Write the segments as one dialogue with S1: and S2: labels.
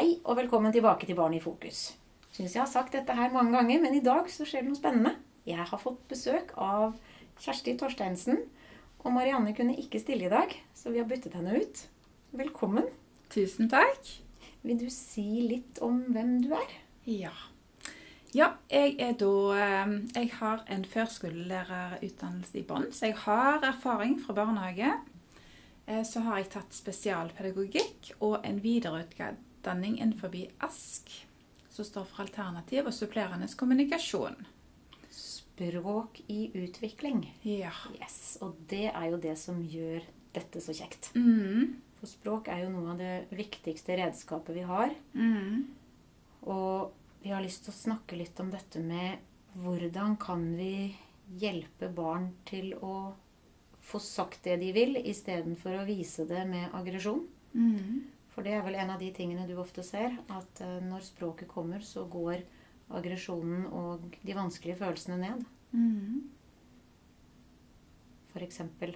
S1: Velkommen tilbake til Barn i fokus. Syns jeg har sagt dette her mange ganger, men i dag så skjer det noe spennende. Jeg har fått besøk av Kjersti Torsteinsen. Og Marianne kunne ikke stille i dag, så vi har byttet henne ut. Velkommen.
S2: Tusen takk.
S1: Vil du si litt om hvem du er?
S2: Ja. Ja, jeg er da eh, Jeg har en førskolelærerutdannelse i bånn, så jeg har erfaring fra barnehage. Eh, Så har jeg tatt spesialpedagogikk og en videreutdanning innenfor ASK, som står for alternativ og supplerende kommunikasjon.
S1: Språk i utvikling.
S2: Ja.
S1: Yes, Og det er jo det som gjør dette så kjekt.
S2: Mm.
S1: For språk er jo noe av det viktigste redskapet vi har.
S2: Mm.
S1: Og vi har lyst til å snakke litt om dette med hvordan kan vi hjelpe barn til å få sagt det de vil, istedenfor å vise det med aggresjon.
S2: Mm.
S1: For det er vel en av de tingene du ofte ser, at eh, når språket kommer, så går aggresjonen og de vanskelige følelsene ned.
S2: Mm.
S1: For eksempel.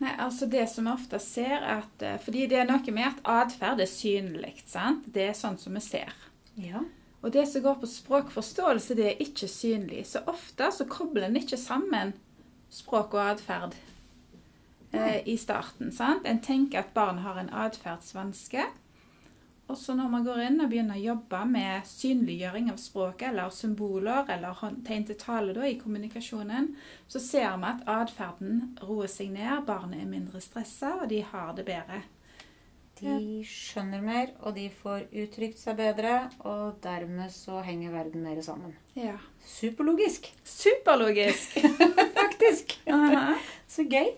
S2: Nei, altså Det som vi ofte ser, er at eh, Fordi det er noe med at atferd er synlig. sant? Det er sånn som vi ser.
S1: Ja.
S2: Og det som går på språkforståelse, det er ikke synlig. Så ofte så kobler en ikke sammen språk og atferd eh, i starten. sant? En tenker at barn har en atferdsvanske. Og så når man går inn og begynner å jobbe med synliggjøring av språket, eller symboler eller hånd- tegn til tale da, i kommunikasjonen, så ser vi at atferden roer seg ned, barnet er mindre stressa, og de har det bedre.
S1: De skjønner mer, og de får uttrykt seg bedre, og dermed så henger verden mer sammen.
S2: Ja.
S1: Superlogisk,
S2: Superlogisk!
S1: faktisk!
S2: Aha.
S1: Så gøy.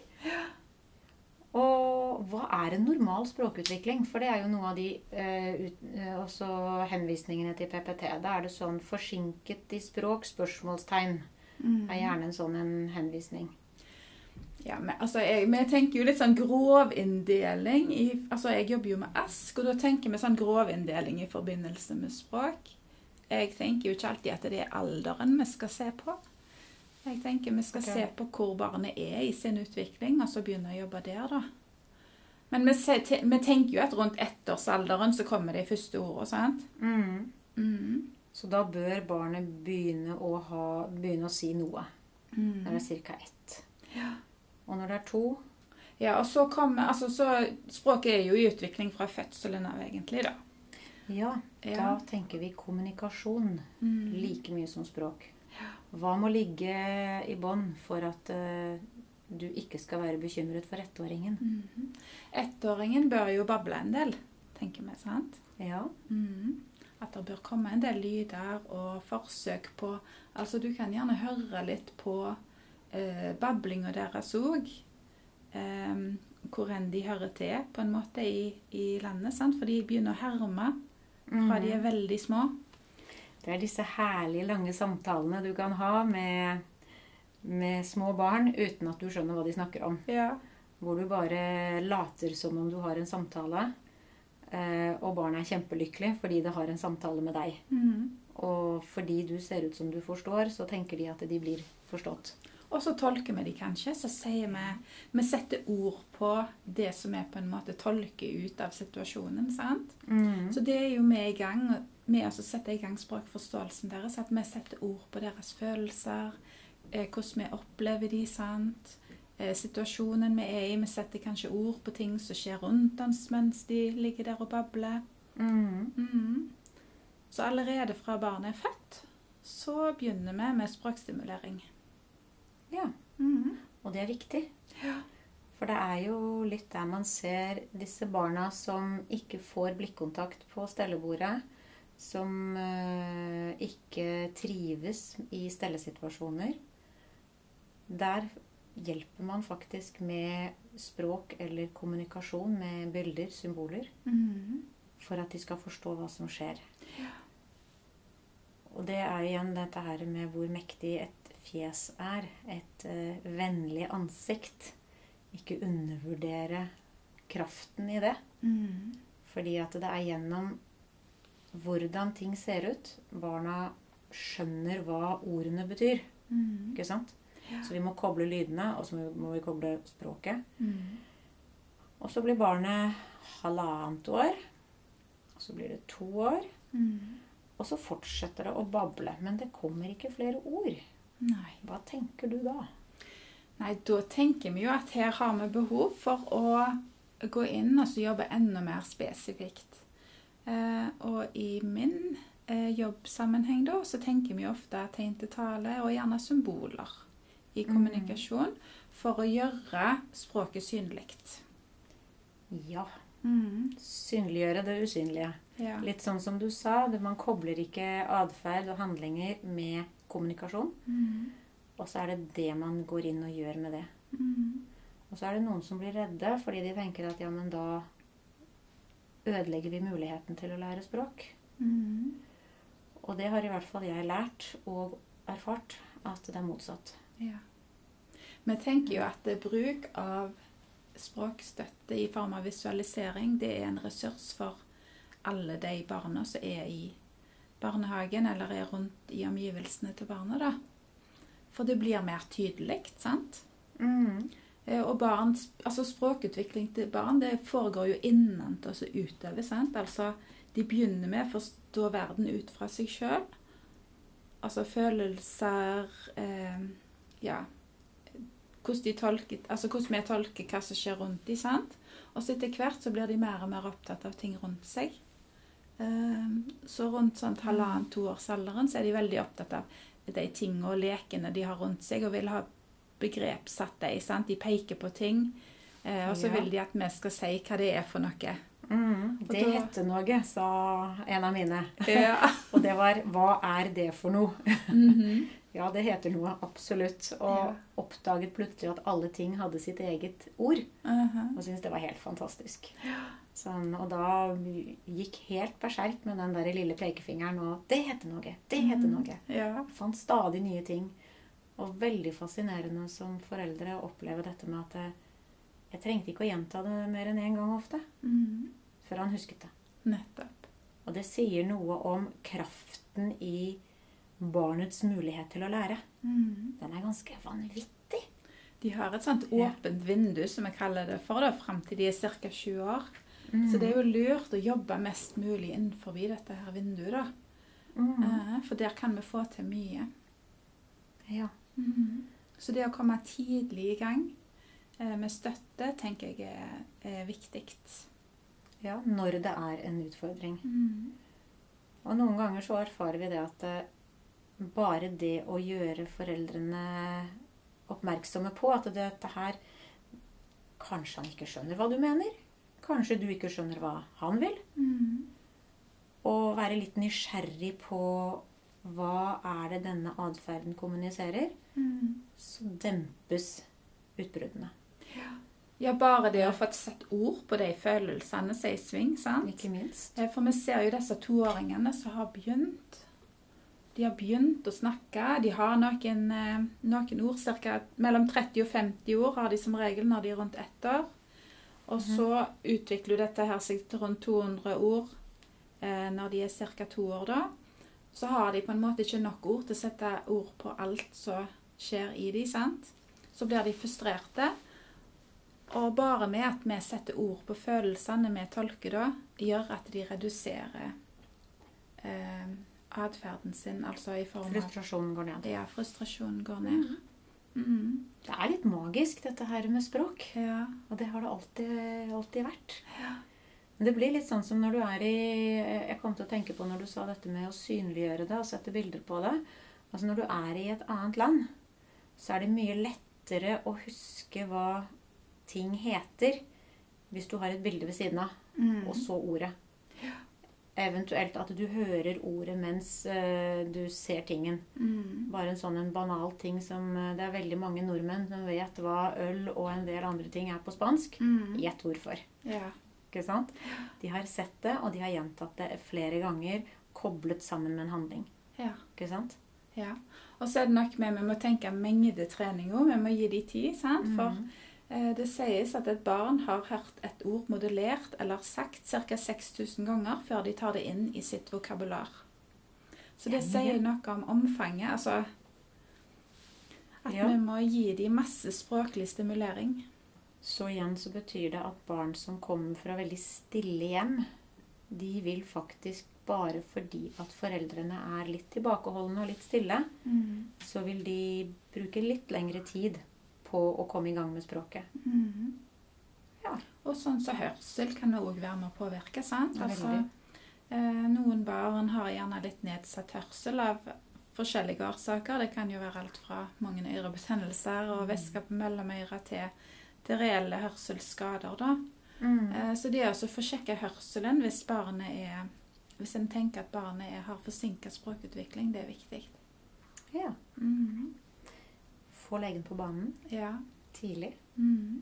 S1: Og hva er en normal språkutvikling? For det er jo noe av de eh, ut, eh, også henvisningene til PPT. Da er det sånn 'forsinket i språk?' spørsmålstegn.
S2: Mm.
S1: er gjerne en sånn en henvisning.
S2: Ja, men, altså, jeg, men jeg tenker jo litt sånn grovinndeling i Altså, jeg jobber jo med ask, og da tenker vi sånn grovinndeling i forbindelse med språk. Jeg tenker jo ikke alltid at det er alderen vi skal se på. Jeg tenker vi skal
S1: Ok.
S2: se på hvor barnet er i sin utvikling, og så begynne å jobbe der, da. Men vi, se, te, vi tenker jo at rundt ettårsalderen så kommer de første ordene, sant? Mm.
S1: Så da bør barnet begynne å, ha, begynne å si noe når
S2: Mm.
S1: det er ca. ett. Og når det er to
S2: Ja, og så kommer Altså, så Språket er jo i utvikling fra fødselen av, egentlig, da.
S1: ja, da
S2: Ja.
S1: tenker vi kommunikasjon
S2: Mm.
S1: like mye som språk. Hva må ligge i bånn for at eh, du ikke skal være bekymret for ettåringen?
S2: Mhm. Ettåringen bør jo bable en del, tenker vi, sant?
S1: Ja.
S2: Mhm. At det bør komme en del lyder og forsøk på Altså, du kan gjerne høre litt på eh, bablinga deres òg. Em, hvor enn de hører til, på en måte, i, i landet. sant? For de begynner å herme fra de er veldig små.
S1: Mm-hmm. Det er disse herlige lange samtalene du kan ha med, med små barn uten at du skjønner hva de snakker om.
S2: Ja.
S1: Hvor du bare later som om du har en samtale, eh, og barnet er kjempelykkelig fordi det har en samtale med deg.
S2: Mhm.
S1: Og fordi du ser ut som du forstår, så tenker de at de blir forstått.
S2: Og så tolker vi de kanskje, så sier vi Vi setter ord på det som vi på en måte tolker ut av situasjonen, sant? Så det er jo vi i gang med å sette i gang språkforståelsen deres. At vi setter ord på deres følelser, eh, hvordan vi opplever de, sant. Eh, situasjonen vi er i. Vi setter kanskje ord på ting som skjer rundt oss mens de ligger der og babler.
S1: Mm.
S2: Mhm. Så allerede fra barnet er født, så begynner vi med språkstimulering.
S1: Ja.
S2: Mhm.
S1: Og det er viktig. For det er jo litt der man ser disse barna som ikke får blikkontakt på stellebordet. Som eh, ikke trives i stellesituasjoner. Der hjelper man faktisk med språk eller kommunikasjon med bilder, symboler,
S2: Mhm.
S1: for at de skal forstå hva som skjer. Og det er igjen dette her med hvor mektig et fjes er. Et eh, vennlig ansikt. Ikke undervurdere kraften i det.
S2: Mhm.
S1: Fordi at det er gjennom hvordan ting ser ut, barna skjønner hva ordene betyr.
S2: Mhm.
S1: ikke sant? Så vi må koble lydene, og så må vi- må vi koble språket.
S2: Mhm.
S1: Og så blir barnet halvannet år. Og så blir det to år.
S2: Mm.
S1: Og så fortsetter det å bable, men det kommer ikke flere ord.
S2: Nei.
S1: Hva tenker du da?
S2: Nei, da tenker vi jo at her har vi behov for å gå inn og så jobbe enda mer spesifikt. Eh, og i min eh, jobbsammenheng da, så tenker vi ofte tegn til tale og gjerne symboler i kommunikasjon for å gjøre språket synlig.
S1: Ja, Mm. synliggjøre det usynlige.
S2: Ja.
S1: Litt sånn som du sa, det- man kobler ikke atferd og handlinger med kommunikasjon. Og så er det det man går inn og gjør med det. Og så er det noen som blir redde fordi de tenker at ja, men da ødelegger vi muligheten til å lære språk. Og det har i hvert fall jeg lært og erfart at det er motsatt.
S2: Ja. Vi tenker jo at eh, bruk av språkstøtte i form av visualisering, det er en ressurs for alle de barna som er i barnehagen, eller er rundt i omgivelsene til barna, da. For det blir mer tydelig, sant?
S1: Mm.
S2: Eh, Og barn, altså språkutvikling til barn det foregår jo innenfor og så utover. sant? Altså, De begynner med å forstå verden ut fra seg sjøl. Altså følelser eh, Ja. Hvordan, de tolker, altså, hvordan vi tolker hva som skjer rundt dem. sant? Og så etter hvert så blir de mer og mer opptatt av ting rundt seg. Eh, så rundt sånn halvannen-toårsalderen så er de veldig opptatt av de tingene og lekene de har rundt seg, og vil ha begrepssatt de. sant? De peker på ting, eh, og så
S1: Ja.
S2: vil de at vi skal si hva det er for noe.
S1: Mm, det
S2: da-
S1: hette noe, sa en av mine.
S2: Ja.
S1: Og det var 'hva er det for noe'?
S2: Mhm.
S1: Ja, det heter noe, absolutt. Og
S2: Ja.
S1: oppdaget plutselig at alle ting hadde sitt eget ord. Og syntes det var helt fantastisk. Sånn, og da gikk helt berserk med den der lille pekefingeren og 'Det heter noe! Det heter noe!'
S2: Ja.
S1: Fant stadig nye ting. Og veldig fascinerende som foreldre å oppleve dette med at eh, jeg trengte ikke å gjenta det mer enn én gang ofte
S2: Mhm.
S1: før han husket det.
S2: Nettopp.
S1: Og det sier noe om kraften i barnets mulighet til å lære.
S2: Mhm.
S1: Den er ganske vanvittig.
S2: De har et sånt
S1: Ja.
S2: åpent vindu, som jeg kaller det for, da, fram til de er ca. 20 år.
S1: Mm.
S2: Så det er jo lurt å jobbe mest mulig innenfor dette her vinduet, da.
S1: Mm.
S2: Eh, For der kan vi få til mye.
S1: Ja. Mm.
S2: Så det å komme tidlig i gang eh, med støtte, tenker jeg er, er viktig.
S1: ja, når det er en utfordring. Og noen ganger så erfarer vi det at eh, bare det å gjøre foreldrene oppmerksomme på at dette her Kanskje han ikke skjønner hva du mener? Kanskje du ikke skjønner hva han vil? Mm. Og være litt nysgjerrig på hva er det denne atferden kommuniserer? Så dempes utbruddene.
S2: Ja, bare det å få satt ord på de følelsene som er i sving, sant?
S1: Ikke minst.
S2: Eh, For vi ser jo disse toåringene som har begynt. De har begynt å snakke. De har noen, eh, noen ord, cirka mellom 30 og 50 ord har de som regel når de er rundt ett år. Og så utvikler jo dette her seg til rundt 200 ord eh, når de er ca. to år, da. Så har de på en måte ikke nok ord til å sette ord på alt som skjer i de, sant? Så blir de frustrerte. Og bare med at vi setter ord på følelsene vi tolker da, gjør at de reduserer eh, atferden sin, altså i form av
S1: Frustrasjonen går ned.
S2: Ja, frustrasjonen går ned. Mm.
S1: Det er litt magisk, dette her med språk.
S2: Ja.
S1: Og det har det alltid, alltid vært. Men det blir litt sånn som når du er i Jeg kom til å tenke på når du sa dette med å synliggjøre det og sette bilder på det. Altså Når du er i et annet land, så er det mye lettere å huske hva ting heter hvis du har et bilde ved siden av,
S2: Mhm.
S1: og så ordet. Eventuelt at du hører ordet mens eh, du ser tingen.
S2: Mm.
S1: Bare en sånn en banal ting som eh, Det er veldig mange nordmenn som vet hva øl og en del andre ting er på spansk.
S2: Mm.
S1: Gjett hvorfor.
S2: Ja.
S1: Ikke sant? De har sett det, og de har gjentatt det flere ganger, koblet sammen med en handling.
S2: Ja.
S1: Ikke sant?
S2: ja. Og så er det nok med vi må tenke mengdetrening òg. Vi må gi de tid, sant?
S1: Mm.
S2: For eh, det sies at et barn har hørt et ord modellert eller sagt ca. 6000 ganger før de tar det inn i sitt vokabular. Så
S1: Det
S2: det
S1: er mye.
S2: sier noe om omfanget. Altså at
S1: Ja.
S2: vi må gi de masse språklig stimulering.
S1: Så igjen så betyr det at barn som kommer fra veldig stille hjem, de vil faktisk bare fordi at foreldrene er litt tilbakeholdne og litt stille,
S2: Mhm.
S1: så vil de bruke litt lengre tid på å komme i gang med språket.
S2: Mhm.
S1: Ja.
S2: Og sånn som hørsel kan det òg være med å påvirke. sant?
S1: Ja,
S2: Altså,
S1: veldig.
S2: eh, noen barn har gjerne litt nedsatt hørsel av forskjellige årsaker. Det kan jo være alt fra mange ørebetennelser og væske på mellomøret til, til reelle hørselsskader. da. Eh, Så det er altså å få sjekka hørselen hvis barnet er hvis en tenker at barnet er, har forsinka språkutvikling, det er viktig.
S1: Ja.
S2: Mhm.
S1: Få legen på banen
S2: Ja.
S1: tidlig.
S2: Mhm.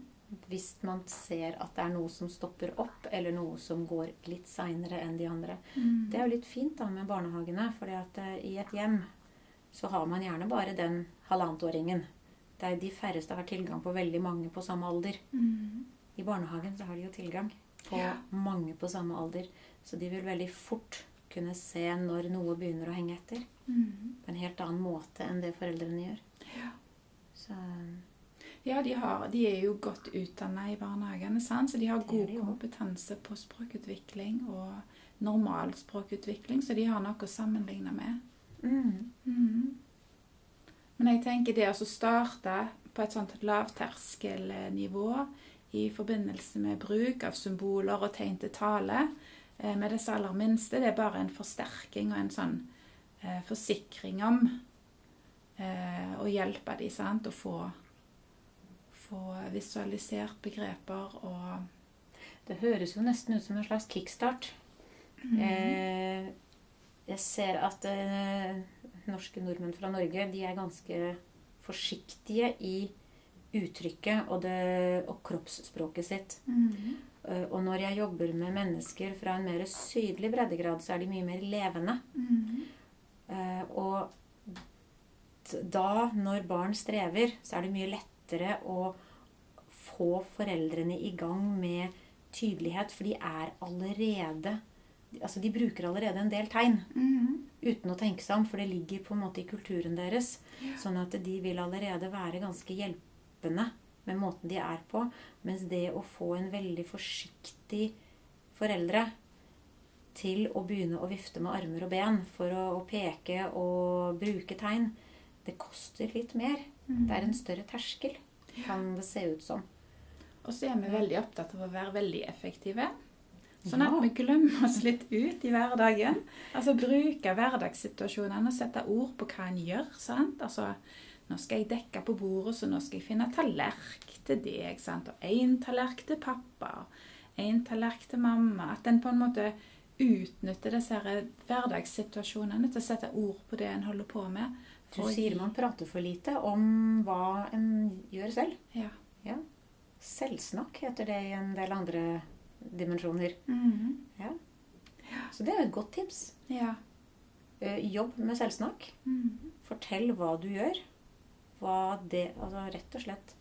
S1: Hvis man ser at det er noe som stopper opp, eller noe som går litt seinere enn de andre.
S2: Mhm.
S1: Det er jo litt fint da med barnehagene, for i et hjem så har man gjerne bare den halvannetåringen. Det er De færreste har tilgang på veldig mange på samme alder.
S2: Mhm.
S1: I barnehagen så har de jo tilgang på
S2: Ja.
S1: mange på samme alder. Så de vil veldig fort kunne se når noe begynner å henge etter.
S2: Mhm.
S1: På en helt annen måte enn det foreldrene gjør. Så,
S2: Ja, de, har, de er jo godt utdanna i barnehagene, sant? så de har
S1: Det er
S2: god
S1: de jo.
S2: kompetanse på språkutvikling og normal språkutvikling, så de har noe å sammenligne med.
S1: mm,
S2: Mhm. Men jeg tenker det å så starte på et sånt lavterskelnivå i forbindelse med bruk av symboler og tegn til tale eh, med disse aller minste, det er bare en forsterking og en sånn eh, forsikring om eh, å hjelpe de, sant, å få, få visualisert begreper og
S1: det høres jo nesten ut som en slags kickstart.
S2: Mhm.
S1: Eh, jeg ser at eh, norske nordmenn fra Norge de er ganske forsiktige i uttrykket og, det, og kroppsspråket sitt.
S2: Mhm.
S1: Eh, og når jeg jobber med mennesker fra en mer sydlig breddegrad, så er de mye mer levende.
S2: Mhm.
S1: Eh, og d- da, når barn strever, så er det mye lettere å få foreldrene i gang med tydelighet, for de er allerede Altså, de bruker allerede en del tegn
S2: Mhm.
S1: uten å tenke seg om, for det ligger på en måte i kulturen deres. Sånn at de vil allerede være ganske hjelpende med måten de er på. Mens det å få en veldig forsiktig foreldre til å begynne å vifte med armer og ben for å, å peke og bruke tegn, det koster litt mer. Det er en større terskel, kan det se ut som.
S2: Og så er vi veldig opptatt av å være veldig effektive. Sånn
S1: Ja.
S2: at vi glemmer oss litt ut i hverdagen. Altså bruke hverdagssituasjonene og sette ord på hva en gjør. sant? Altså, nå skal jeg dekke på bordet, så nå skal jeg finne tallerk til deg. sant? Og én tallerk til pappa, og én tallerk til mamma. At en på en måte utnytter disse her hverdagssituasjonene til å sette ord på det en holder på med.
S1: Du
S2: for å
S1: sier
S2: gi-
S1: man prater for lite om hva en gjør selv.
S2: Ja.
S1: Ja. Selvsnakk heter det i en del andre dimensjoner.
S2: Mhm.
S1: Så det er jo et godt tips.
S2: ja.
S1: Eh, Jobb med selvsnakk. Mm.
S2: Mhm.
S1: Fortell hva du gjør. Hva det Altså rett og slett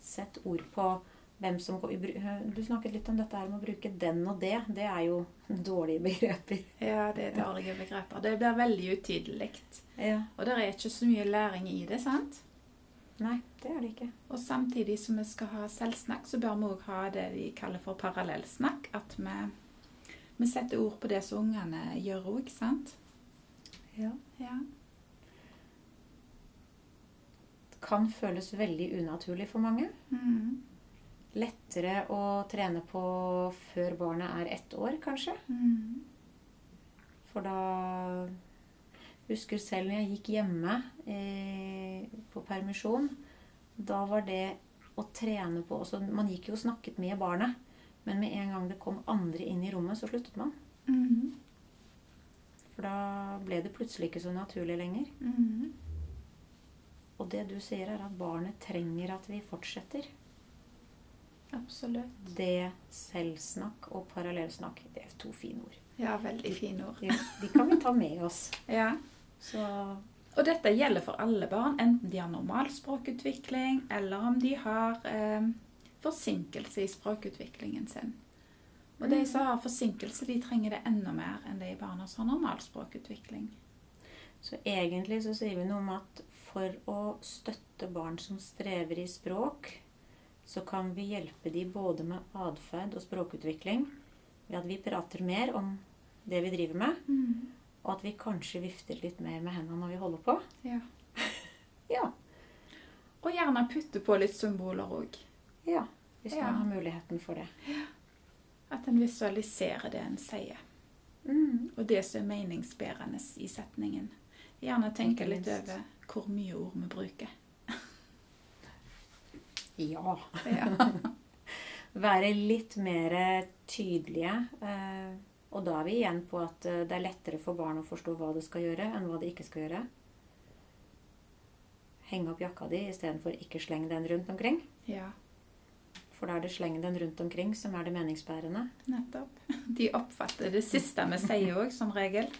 S1: sett ord på hvem som går i bru- eh, Du snakket litt om dette her med å bruke den og det. Det er jo dårlige begreper.
S2: ja, det er dårlige begreper. Det blir veldig utydelig.
S1: Ja.
S2: Og det er ikke så mye læring i det, sant?
S1: Nei, det er det ikke.
S2: Og samtidig som vi skal ha selvsnakk, så bør vi òg ha det de kaller for parallellsnakk. At vi, vi setter ord på det som ungene gjør òg, sant?
S1: Ja.
S2: Ja.
S1: Det kan føles veldig unaturlig for mange.
S2: Mhm.
S1: Lettere å trene på før barnet er ett år, kanskje.
S2: Mhm.
S1: For da husker selv når jeg gikk hjemme eh, på permisjon, da var det å trene på også, Man gikk jo og snakket med barnet, men med en gang det kom andre inn i rommet, så sluttet man.
S2: Mhm.
S1: For da ble det plutselig ikke så naturlig lenger.
S2: Mhm.
S1: Og det du sier, er at barnet trenger at vi fortsetter.
S2: Absolutt.
S1: Det selvsnakk og parallellsnakk, det er to fine ord.
S2: Ja, veldig fine ord.
S1: De, de kan vi ta med oss.
S2: Ja.
S1: Så
S2: Og dette gjelder for alle barn, enten de har normal språkutvikling, eller om de har eh, forsinkelse i språkutviklingen sin. Og de som har forsinkelse, de trenger det enda mer enn de barna som har normal språkutvikling.
S1: Så egentlig så sier vi noe om at for å støtte barn som strever i språk, så kan vi hjelpe de både med atferd og språkutvikling ved at vi prater mer om det vi driver med, og at vi kanskje vifter litt mer med hendene når vi holder på.
S2: Ja.
S1: Ja.
S2: Og gjerne putte på litt symboler òg.
S1: ja hvis
S2: Ja.
S1: man har muligheten for det.
S2: At en visualiserer det en sier,
S1: Mm.
S2: og det som er meningsbærende i setningen. Gjerne tenke
S1: Ikke
S2: litt
S1: minst.
S2: over hvor mye ord vi bruker.
S1: Ja.
S2: Ja.
S1: Være litt mer tydelige. eh, Og da er vi igjen på at eh, det er lettere for barn å forstå hva det skal gjøre, enn hva det ikke skal gjøre. Henge opp jakka di istedenfor ikke sleng den rundt omkring.
S2: ja,
S1: For da er det sleng den rundt omkring som er det meningsbærende.
S2: nettopp. De oppfatter det siste vi sier òg, som regel.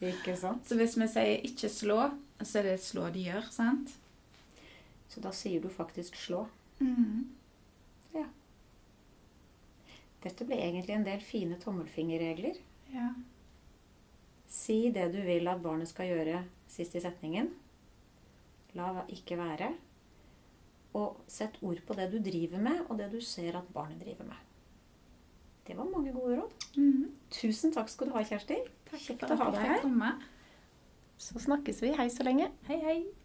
S1: Ikke sant?
S2: Så hvis vi sier 'ikke slå', så er det et slå de gjør, sant?
S1: Så da sier du faktisk 'slå'. Dette ble egentlig en del fine tommelfingerregler.
S2: Ja.
S1: Si det du vil at barnet skal gjøre sist i setningen. La va- ikke være. Og sett ord på det du driver med, og det du ser at barnet driver med. Det var mange gode råd.
S2: Mm.
S1: Tusen takk skal du ha, Kjersti.
S2: Takk
S1: Kjekt
S2: for
S1: å ha
S2: at
S1: deg
S2: jeg fikk
S1: her.
S2: komme.
S3: Så snakkes vi. Hei så lenge.
S2: Hei, hei.